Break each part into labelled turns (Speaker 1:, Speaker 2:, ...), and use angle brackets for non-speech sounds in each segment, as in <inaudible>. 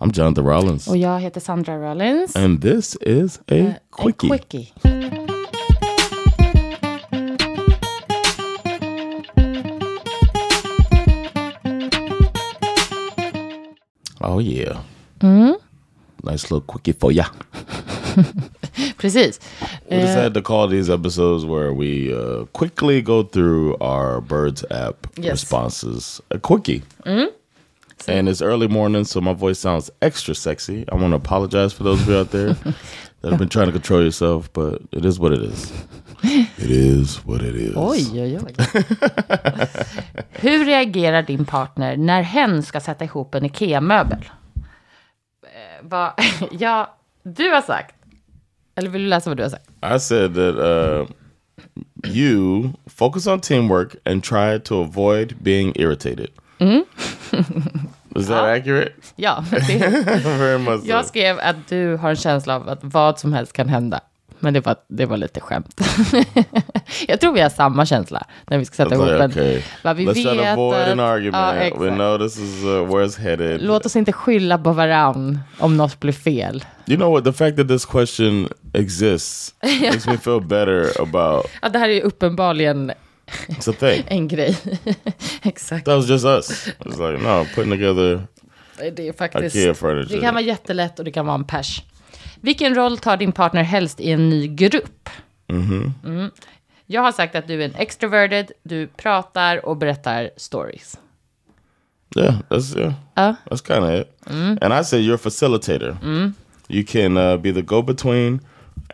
Speaker 1: I'm Jonathan Rollins.
Speaker 2: Och jag heter Sandra Rollins.
Speaker 1: And this is a
Speaker 2: Eh,
Speaker 1: quickie.
Speaker 2: En quickie.
Speaker 1: Oh yeah. Nice little quickie for ya.
Speaker 2: Precis.
Speaker 1: We just had to call these episodes where we uh, quickly go through our Birds app
Speaker 2: Yes.
Speaker 1: responses a quickie. And it's early morning, so my voice sounds extra sexy. I want to apologize for those of you out there that have been trying to control yourself, but it is what it is. It is what it is.
Speaker 2: Oj, oj, oj. <laughs> Hur reagerar din partner när hen ska sätta ihop en IKEA-möbel? Eh, vad, <laughs> ja, du har sagt. Eller vill du läsa vad du har sagt?
Speaker 1: I said that uh, you focus on teamwork and try to avoid being irritated. is that accurate? <laughs>
Speaker 2: Ja, <laughs> det,
Speaker 1: Very much. so.
Speaker 2: jag skrev att du har en känsla av att vad som helst kan hända. Men det var, det var lite skämt. <laughs> jag tror vi har samma känsla när vi ska sätta
Speaker 1: It's
Speaker 2: ihop
Speaker 1: like,
Speaker 2: en.
Speaker 1: okay,
Speaker 2: Vad vi
Speaker 1: let's try to
Speaker 2: vet
Speaker 1: avoid
Speaker 2: att-
Speaker 1: an
Speaker 2: Ja,
Speaker 1: argument. we
Speaker 2: exakt.
Speaker 1: know this is uh, where it's headed.
Speaker 2: Låt oss inte skylla på varann om något blir fel.
Speaker 1: You know what? The fact that this question exists makes me feel better about
Speaker 2: Ja, det här är ju uppenbarligen
Speaker 1: it's a thing.
Speaker 2: en grej. <laughs> Exakt.
Speaker 1: That was just us. It's like no, putting together
Speaker 2: Det är faktiskt...
Speaker 1: IKEA furniture.
Speaker 2: Det kan vara jättelätt och det kan vara en pers. Vilken roll tar din partner helst i en ny grupp? Mm. Jag har sagt att du är en extroverted, du pratar och berättar stories.
Speaker 1: Yeah, that's yeah. That's kind of it. And I say you're a facilitator. You can uh, be the go-between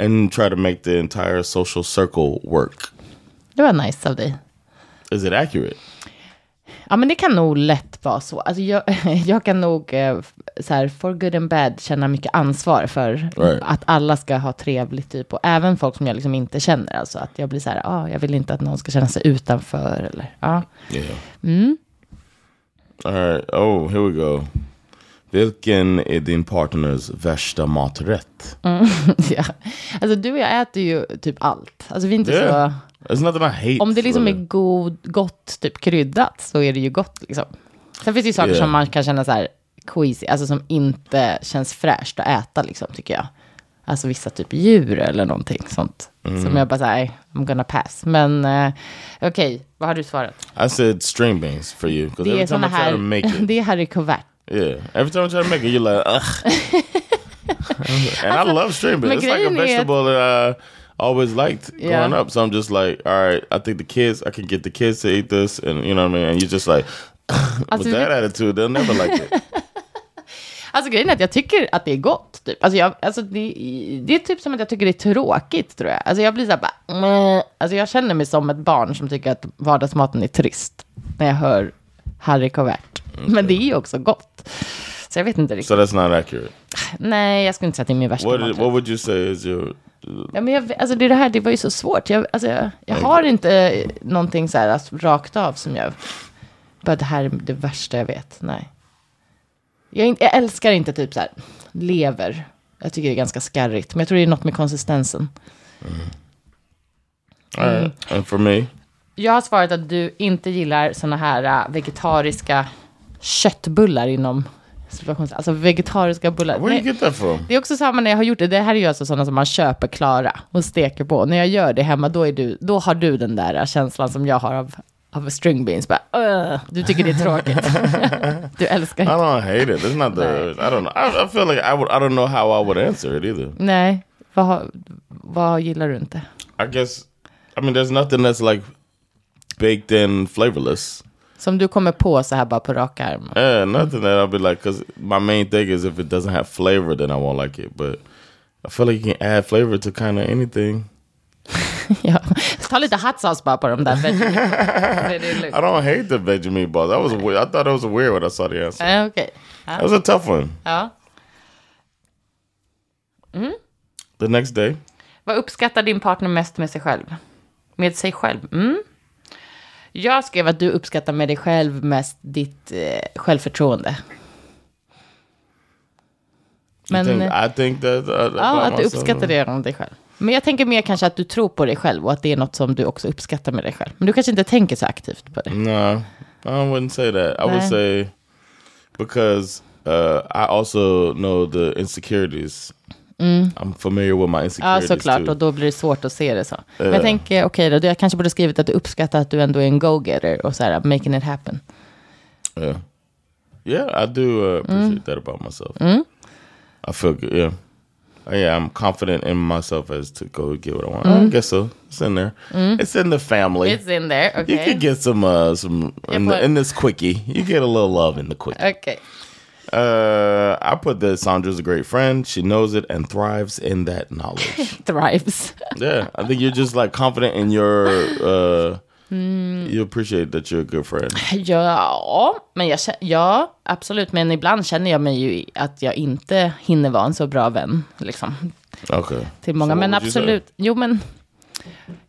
Speaker 1: and try to make the entire social circle work.
Speaker 2: Det var nice av dig.
Speaker 1: Is it accurate?
Speaker 2: Ja, men det kan nog lätt vara så. Alltså, jag, <laughs> jag kan nog, eh, f- så här, for good and bad, känna mycket ansvar för
Speaker 1: Right.
Speaker 2: att alla ska ha trevligt, typ. Och även folk som jag liksom inte känner. Alltså, att jag blir så här, ah, jag vill inte att någon ska känna sig utanför. Eller, ah.
Speaker 1: Yeah. All right. Oh, here we go. Vilken är din partners värsta maträtt?
Speaker 2: <laughs> ja. Alltså, du och jag äter ju typ allt. Alltså, vi är inte
Speaker 1: Yeah.
Speaker 2: så...
Speaker 1: It's nothing I hate.
Speaker 2: Om det liksom
Speaker 1: really.
Speaker 2: är god, gott, typ kryddat, så är det ju gott. Liksom. Sen finns det ju saker
Speaker 1: Yeah.
Speaker 2: som man kan känna så här queasy, alltså som inte känns fräscht att äta, liksom, tycker jag. Alltså vissa typ djur eller någonting sånt.
Speaker 1: Mm.
Speaker 2: Som jag bara säger, I'm gonna pass. Men eh, okej, vad har du svarat?
Speaker 1: I said string beans for you. Because
Speaker 2: Det
Speaker 1: every
Speaker 2: är
Speaker 1: time
Speaker 2: såna
Speaker 1: I try to
Speaker 2: <laughs>
Speaker 1: make
Speaker 2: här,
Speaker 1: it.
Speaker 2: det är Harry Covert.
Speaker 1: yeah. Every time I try to make it, you're like, ugh. and I love string
Speaker 2: men
Speaker 1: beans. It's like a
Speaker 2: grejen är att-
Speaker 1: vegetable that I always liked
Speaker 2: Yeah.
Speaker 1: growing up. So I'm just like, all right, I think the kids, I can get the kids to eat this. And you know what I mean? And you're just like, <laughs> with
Speaker 2: Alltså,
Speaker 1: that
Speaker 2: det-
Speaker 1: attitude, they'll never like it.
Speaker 2: Alltså grejen är att jag tycker att det är gott. Typ. Alltså, jag, alltså, det, det är typ som att jag tycker det är tråkigt tror jag. Alltså jag blir så här bara, "Mäh." alltså jag känner mig som ett barn som tycker att vardagsmaten är trist. När jag hör Harry Covert. Men det Mm, är ju också gott. Så jag vet inte riktigt.
Speaker 1: So that's not accurate.
Speaker 2: Nej, jag skulle inte säga att det är min värsta
Speaker 1: What,
Speaker 2: maträtt.
Speaker 1: what would you say is your
Speaker 2: ja, men jag, alltså det, är det här, det var ju så svårt. Jag, alltså, jag, jag har inte eh, någonting så här alltså, rakt av som jag... Bara det här är det värsta jag vet. Nej. Jag, är inte- jag älskar inte typ så här lever. Jag tycker det är ganska skarrigt. Men jag tror det är något med konsistensen.
Speaker 1: All right. And for me,
Speaker 2: Jag har svarat att du inte gillar såna här eh, vegetariska köttbullar inom... situations- Alltså vegetariska bullar.
Speaker 1: where do you
Speaker 2: Nej.
Speaker 1: get that from?
Speaker 2: Det är också samma när jag har gjort det. Det här är ju alltså sådana som man köper klara och steker på. När jag gör det hemma, då, är du, då har du den där känslan som jag har av, av string beans. Bara, "Ugh." du tycker det är tråkigt. du älskar
Speaker 1: I
Speaker 2: inte.
Speaker 1: don't hate it. It's not the. I don't know. I, I feel like I would. I don't know how I would answer it either.
Speaker 2: Nej, vad, har- vad gillar du inte?
Speaker 1: I guess. I mean, there's nothing that's like baked in, flavorless.
Speaker 2: Som du kommer på så här bara på raka arm.
Speaker 1: Yeah, nothing that I'll be like. Cause my main thing is if it doesn't have flavor, then I won't like it. But I feel like you can add flavor to kind of anything.
Speaker 2: ja. Ta lite hot sauce bara på de där veggie meatballs. Det är lugnt.
Speaker 1: I don't hate the veggie meatballs. That was weird. I thought it was weird when I saw the answer.
Speaker 2: Eh, Okej.
Speaker 1: That was a tough one.
Speaker 2: Ja.
Speaker 1: The next day,
Speaker 2: Vad uppskattar din partner mest med sig själv? Med sig själv? Mm. Jag skrev att du uppskattar med dig själv mest ditt eh, självförtroende.
Speaker 1: you
Speaker 2: Men
Speaker 1: think,
Speaker 2: eh,
Speaker 1: I think that. Uh,
Speaker 2: ja, att du
Speaker 1: myself.
Speaker 2: uppskattar det om dig själv. Men jag tänker mer kanske att du tror på dig själv och att det är något som du också uppskattar med dig själv. Men du kanske inte tänker så aktivt på det.
Speaker 1: No, I wouldn't say that. I would
Speaker 2: No.
Speaker 1: say because uh, I also know the insecurities. I'm familiar with my
Speaker 2: Ja,
Speaker 1: insecurities
Speaker 2: såklart.
Speaker 1: too.
Speaker 2: Och då blir det svårt att se det så. Men jag tänker, okej då, jag kanske borde skrivit att du uppskattar att du ändå är en go-getter och så här, making it happen.
Speaker 1: Yeah, I do uh, appreciate that about myself. I feel good. Yeah, Uh, yeah, I'm confident in myself as to go get what I want. I guess so. It's in there. Mm-hmm. It's in the family.
Speaker 2: It's in there, okej.
Speaker 1: you could get some uh, some in,
Speaker 2: but-
Speaker 1: the, in this quickie. You get a little love in the quickie.
Speaker 2: Okej.
Speaker 1: Uh, I put that Sandra's a great friend. She knows it and thrives in that knowledge. <laughs>
Speaker 2: Thrives.
Speaker 1: yeah, I think you're just like confident in your. Uh, You appreciate that you're a good friend.
Speaker 2: Ja, men jag, kä- ja, absolut. Men ibland känner jag mig ju i- att jag inte hinner vara en så bra vän. Liksom,
Speaker 1: <laughs> Okay.
Speaker 2: till många.
Speaker 1: So what
Speaker 2: men
Speaker 1: would you say?
Speaker 2: absolut. Jo, men,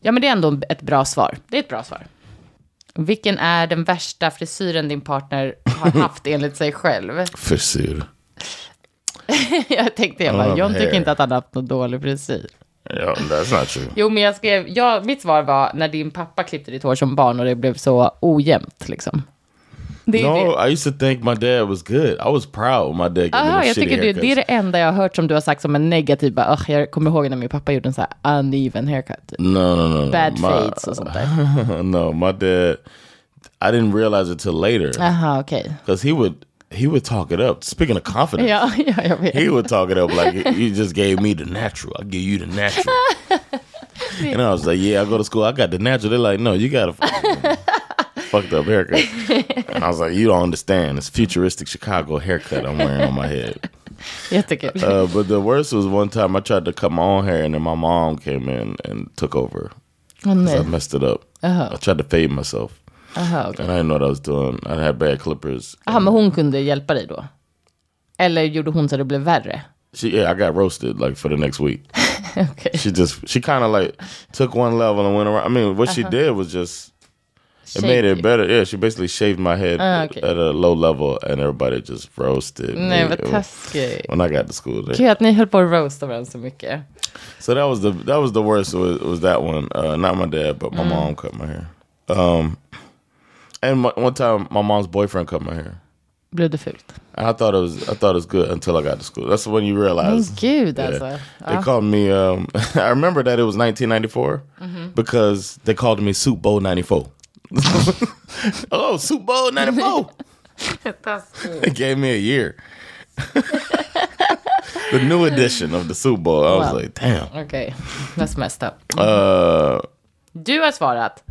Speaker 2: ja, men det är ändå ett bra svar. Det är ett bra svar. Vilken är den värsta frisyren din partner
Speaker 1: <laughs>
Speaker 2: har haft enligt sig själv? <laughs>
Speaker 1: Frisyr.
Speaker 2: Jag tänkte jag bara,
Speaker 1: Oh,
Speaker 2: John tycker
Speaker 1: hair.
Speaker 2: inte att han har haft någon dålig frisyr.
Speaker 1: Yeah, that's not true.
Speaker 2: Jo, men jag skrev, ja, mitt svar var när din pappa klippte ditt hår som barn och det blev så ojämnt liksom. Det är det.
Speaker 1: No, I used to think my dad was good. I was proud when my dad gave
Speaker 2: Aha,
Speaker 1: me
Speaker 2: jag
Speaker 1: the shitty
Speaker 2: tycker det, det är
Speaker 1: haircuts.
Speaker 2: det enda jag har hört som du har sagt som en negativ. Bara, "Ugh, jag kommer ihåg när min pappa gjorde en så här uneven haircut. Typ.
Speaker 1: No, no, no, no.
Speaker 2: Bad
Speaker 1: my,
Speaker 2: fades och sånt
Speaker 1: <laughs>
Speaker 2: där.
Speaker 1: no, my dad. I didn't realize it till later
Speaker 2: Aha, okej. <laughs>
Speaker 1: because he would he would talk it up. Speaking of confidence,
Speaker 2: Ja, ja, jag vet.
Speaker 1: he would talk it up like <laughs> you just gave me the natural. I give you the natural. and I was like, yeah, I go to school. I got the natural. They're like, no, you got a fucking fucked up haircut. And I was like, you don't understand. It's futuristic Chicago haircut I'm wearing on my head.
Speaker 2: Jättekul.
Speaker 1: Uh, but the worst was one time I tried to cut my own hair, and then my mom came in and took over.
Speaker 2: Åh,
Speaker 1: 'Cause
Speaker 2: nej.
Speaker 1: I messed it up.
Speaker 2: Uh-huh.
Speaker 1: I tried to fade myself,
Speaker 2: Aha, okej.
Speaker 1: and I didn't know what I was doing. I had bad clippers.
Speaker 2: Aha, men hon kunde hjälpa dig då? Eller gjorde hon så det blev värre?
Speaker 1: She, yeah, I got roasted like for the next
Speaker 2: <laughs>
Speaker 1: week.
Speaker 2: Okej.
Speaker 1: She just, she kind of like took one level and went around. I mean, what
Speaker 2: Uh-huh.
Speaker 1: she did was just it made it
Speaker 2: Shaky.
Speaker 1: better. Yeah, she basically shaved my head
Speaker 2: Ah, okay.
Speaker 1: at a low level, and everybody just roasted me
Speaker 2: Nej, vad taskigt.
Speaker 1: when I got to school. They
Speaker 2: Kul att ni höll på att roasta varandra så mycket.
Speaker 1: So that was the that was the worst was, was that one. Uh, not my dad, but my mom cut my hair. Um, and my, one time my mom's boyfriend cut my hair,
Speaker 2: Blev det fult?
Speaker 1: and I thought it was I thought it was good until I got to school. That's when you
Speaker 2: Men
Speaker 1: realize.
Speaker 2: gud
Speaker 1: Yeah.
Speaker 2: alltså.
Speaker 1: They called me. Um, <laughs> I remember that it was 1994 because they called me Soup Bowl 94. <laughs> oh, Soup Bowl 94.
Speaker 2: Taskigt.
Speaker 1: they gave me a year. <laughs> the new edition of the Soup Bowl. I was
Speaker 2: Wow. Mm-hmm.
Speaker 1: like, damn.
Speaker 2: Okej, that's messed up.
Speaker 1: Uh,
Speaker 2: Du har svarat.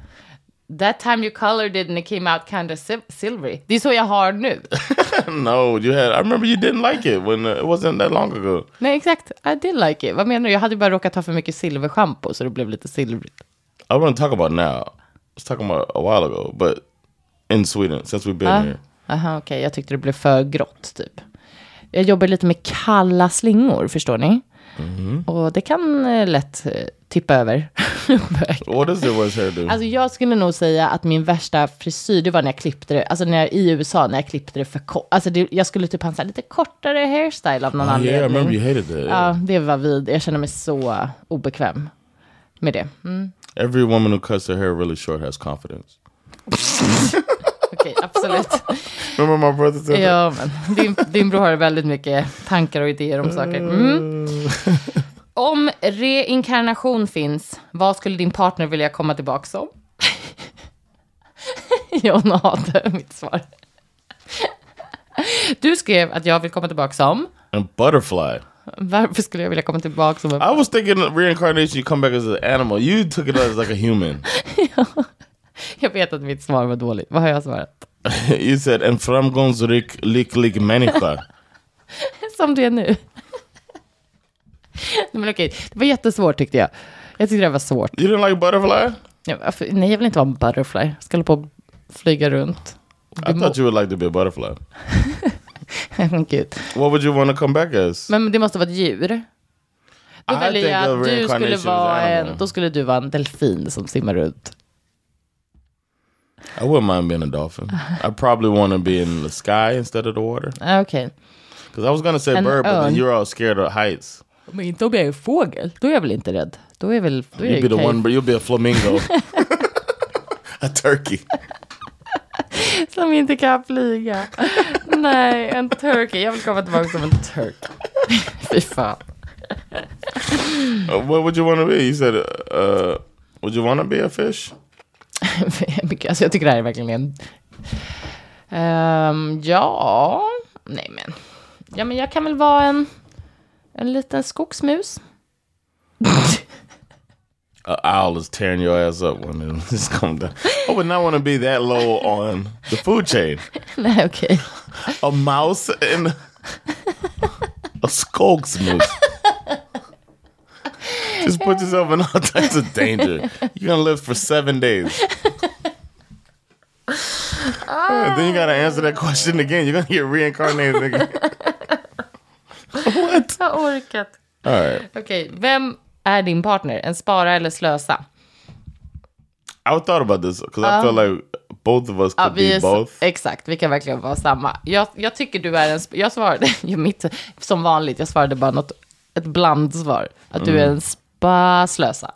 Speaker 2: That time you colored it and it came out kind of silvery. Det är så jag har nu.
Speaker 1: No, you had. I remember you didn't like it when uh, it wasn't that long ago.
Speaker 2: Nej, exakt. I did like it. Vad menar du? Jag hade ju bara råkat ta för mycket silverschampo så det blev lite silvrigt.
Speaker 1: I want to talk about now. I was talking about a while ago, but in Sweden since we've been here.
Speaker 2: Aha, okej. Jag tyckte det blev för grått, typ. Jag jobbar lite med kalla slingor, förstår ni? Och det kan eh, lätt eh, tippa över. <laughs>
Speaker 1: What is your worst hairdo?
Speaker 2: Alltså jag skulle nog säga att min värsta frisyr, det var när jag klippte det, alltså när jag, i USA, när jag klippte det för kort. Alltså det, jag skulle typ ha en sån här lite kortare hairstyle av någon
Speaker 1: Oh,
Speaker 2: anledning.
Speaker 1: yeah, I remember you hated that.
Speaker 2: Ja, det var vid. Jag känner mig så obekväm med det. Mm,
Speaker 1: Every woman who cuts her hair really short has confidence.
Speaker 2: Okej, absolut.
Speaker 1: Remember my brother said that?
Speaker 2: ja, men din, din bror har väldigt mycket tankar och idéer om saker. Mm. Om reinkarnation finns, vad skulle din partner vilja komma tillbaka som? <laughs> John hatar mitt svar. Du skrev att jag vill komma tillbaka som.
Speaker 1: And butterfly.
Speaker 2: Varför skulle jag vilja komma tillbaka som en
Speaker 1: I was thinking of reincarnation. You come back as an animal. You took it as like a human. <laughs>
Speaker 2: <laughs> Jag vet att mitt svar var dåligt. Vad har jag svarat?
Speaker 1: you said en framgångsrik lycklig människa.
Speaker 2: Som det är nu. <laughs> Nej, men okej, det var jättesvårt tyckte jag. Jag tyckte det var svårt.
Speaker 1: You didn't like butterfly?
Speaker 2: Ja, varför- Nej, jag vill inte vara en butterfly. Jag ska hålla på och flyga runt. <laughs>
Speaker 1: I thought you would like to be a butterfly.
Speaker 2: Men gud.
Speaker 1: What would you want to come back as?
Speaker 2: Men det måste vara ett djur. Då
Speaker 1: I
Speaker 2: väljer
Speaker 1: think
Speaker 2: jag
Speaker 1: of
Speaker 2: att du skulle
Speaker 1: reincarnation as
Speaker 2: vara
Speaker 1: an
Speaker 2: en,
Speaker 1: animal.
Speaker 2: då skulle du vara en delfin som simmar runt.
Speaker 1: I wouldn't mind being a <laughs> dolphin. I probably want to be in the sky instead of the water.
Speaker 2: Ah, Okej.
Speaker 1: Because I was going to say
Speaker 2: An
Speaker 1: bird, but then
Speaker 2: örn.
Speaker 1: you're all scared of heights.
Speaker 2: Men inte om jag är en fågel. Då är jag väl inte rädd. Då är jag väl... Då är
Speaker 1: You'd be
Speaker 2: jag
Speaker 1: the
Speaker 2: okej. <laughs>
Speaker 1: one, but you'll be a flamingo. <laughs> a turkey.
Speaker 2: Som inte
Speaker 1: <laughs>
Speaker 2: kan flyga. Nej, en turkey. Jag vill komma tillbaka som
Speaker 1: <laughs>
Speaker 2: en turkey. Fy fan.
Speaker 1: Uh, What would you want to be? You said, uh, would you want to be a fish?
Speaker 2: <laughs> alltså jag tycker det här är verkligen en... Ehm, ja, nej men. Ja, men jag kan väl vara en, en liten skogsmus. <laughs>
Speaker 1: An owl is tearing your ass up when <laughs> it just come down. I would not want to be that low on the food chain.
Speaker 2: nej, okej.
Speaker 1: A mouse and a skulk's moose. Just put yourself in all types of danger. You're gonna live for seven days. Uh, then you gotta answer that question again. You're gonna get reincarnated again. what?
Speaker 2: Jag har orkat.
Speaker 1: All right.
Speaker 2: Okej, vem är din partner? En spara eller slösa?
Speaker 1: I thought about this because I feel like both of us could
Speaker 2: Ja, vi
Speaker 1: be
Speaker 2: är, så-
Speaker 1: both.
Speaker 2: exakt, vi kan verkligen vara samma. Jag, jag tycker du är en... sp- Jag svarade, <laughs> ju mitt, som vanligt, jag svarade bara något, ett blandsvar. Att
Speaker 1: Mm.
Speaker 2: du är en spa-slösa.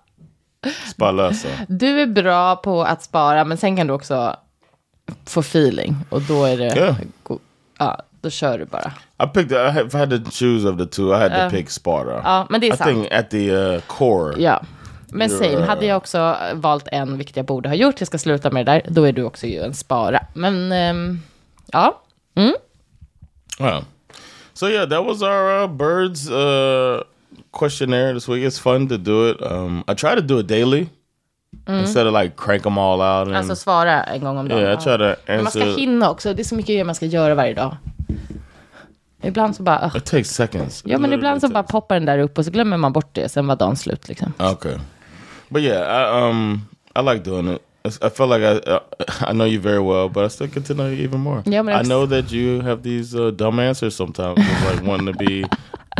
Speaker 1: Spalasa.
Speaker 2: Du är bra på att spara, men sen kan du också få feeling. Och då är det...
Speaker 1: Ja.
Speaker 2: go- Ja, då kör du bara.
Speaker 1: I picked. I had, if I had to choose of the two, I had to pick Sparta.
Speaker 2: Ja, men det är
Speaker 1: I
Speaker 2: sant.
Speaker 1: think at the uh, core.
Speaker 2: Ja. Men same, hade jag också valt en, vilket jag borde ha gjort, jag ska sluta med det där, då är du också ju en spara. Men, ehm, ja.
Speaker 1: Mm. Wow. So yeah, that was our uh, birds uh, questionnaire this week. It's fun to do it. Um, I try to do it daily instead of like crank them all out. And,
Speaker 2: Alltså svara en gång om dagen.
Speaker 1: yeah, I try to
Speaker 2: Men Man ska
Speaker 1: answer.
Speaker 2: hinna också, det är så mycket grejer man ska göra varje dag. Ibland så bara, ugh.
Speaker 1: It takes seconds.
Speaker 2: ja men
Speaker 1: Literally
Speaker 2: ibland så
Speaker 1: takes-
Speaker 2: bara poppar den där upp och så glömmer man bort det, sen var dagen slut liksom.
Speaker 1: Okay, but yeah, I um I like doing it. It's- I feel like I uh, <laughs> I know you very well, but I still get to know you even more.
Speaker 2: Yeah, but
Speaker 1: I
Speaker 2: it's-
Speaker 1: know that you have these uh, dumb answers sometimes, It's like <laughs> wanting to be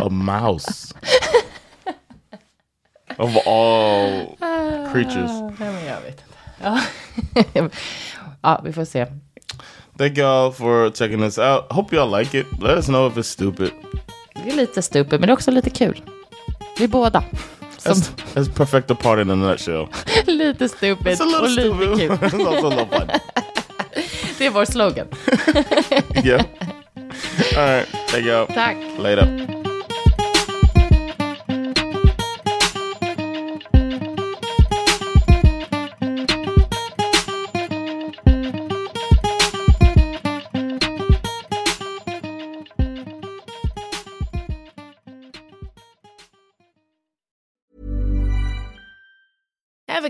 Speaker 1: a mouse of all creatures.
Speaker 2: Nej men jag vet inte. Ja, <laughs> ja vi får se.
Speaker 1: Thank y'all for checking this out. Hope y'all like it. Let us know if it's stupid.
Speaker 2: Det är lite stupid, men det är också lite kul. Vi är båda. Som
Speaker 1: That's, that's perfect the part in a nutshell.
Speaker 2: <laughs> lite stupid
Speaker 1: It's a little
Speaker 2: och lite
Speaker 1: stupid. <laughs>
Speaker 2: kul.
Speaker 1: it's also a little fun.
Speaker 2: Det är vår slogan.
Speaker 1: yeah. All right. Thank y'all.
Speaker 2: Tack.
Speaker 1: Later.
Speaker 3: Ever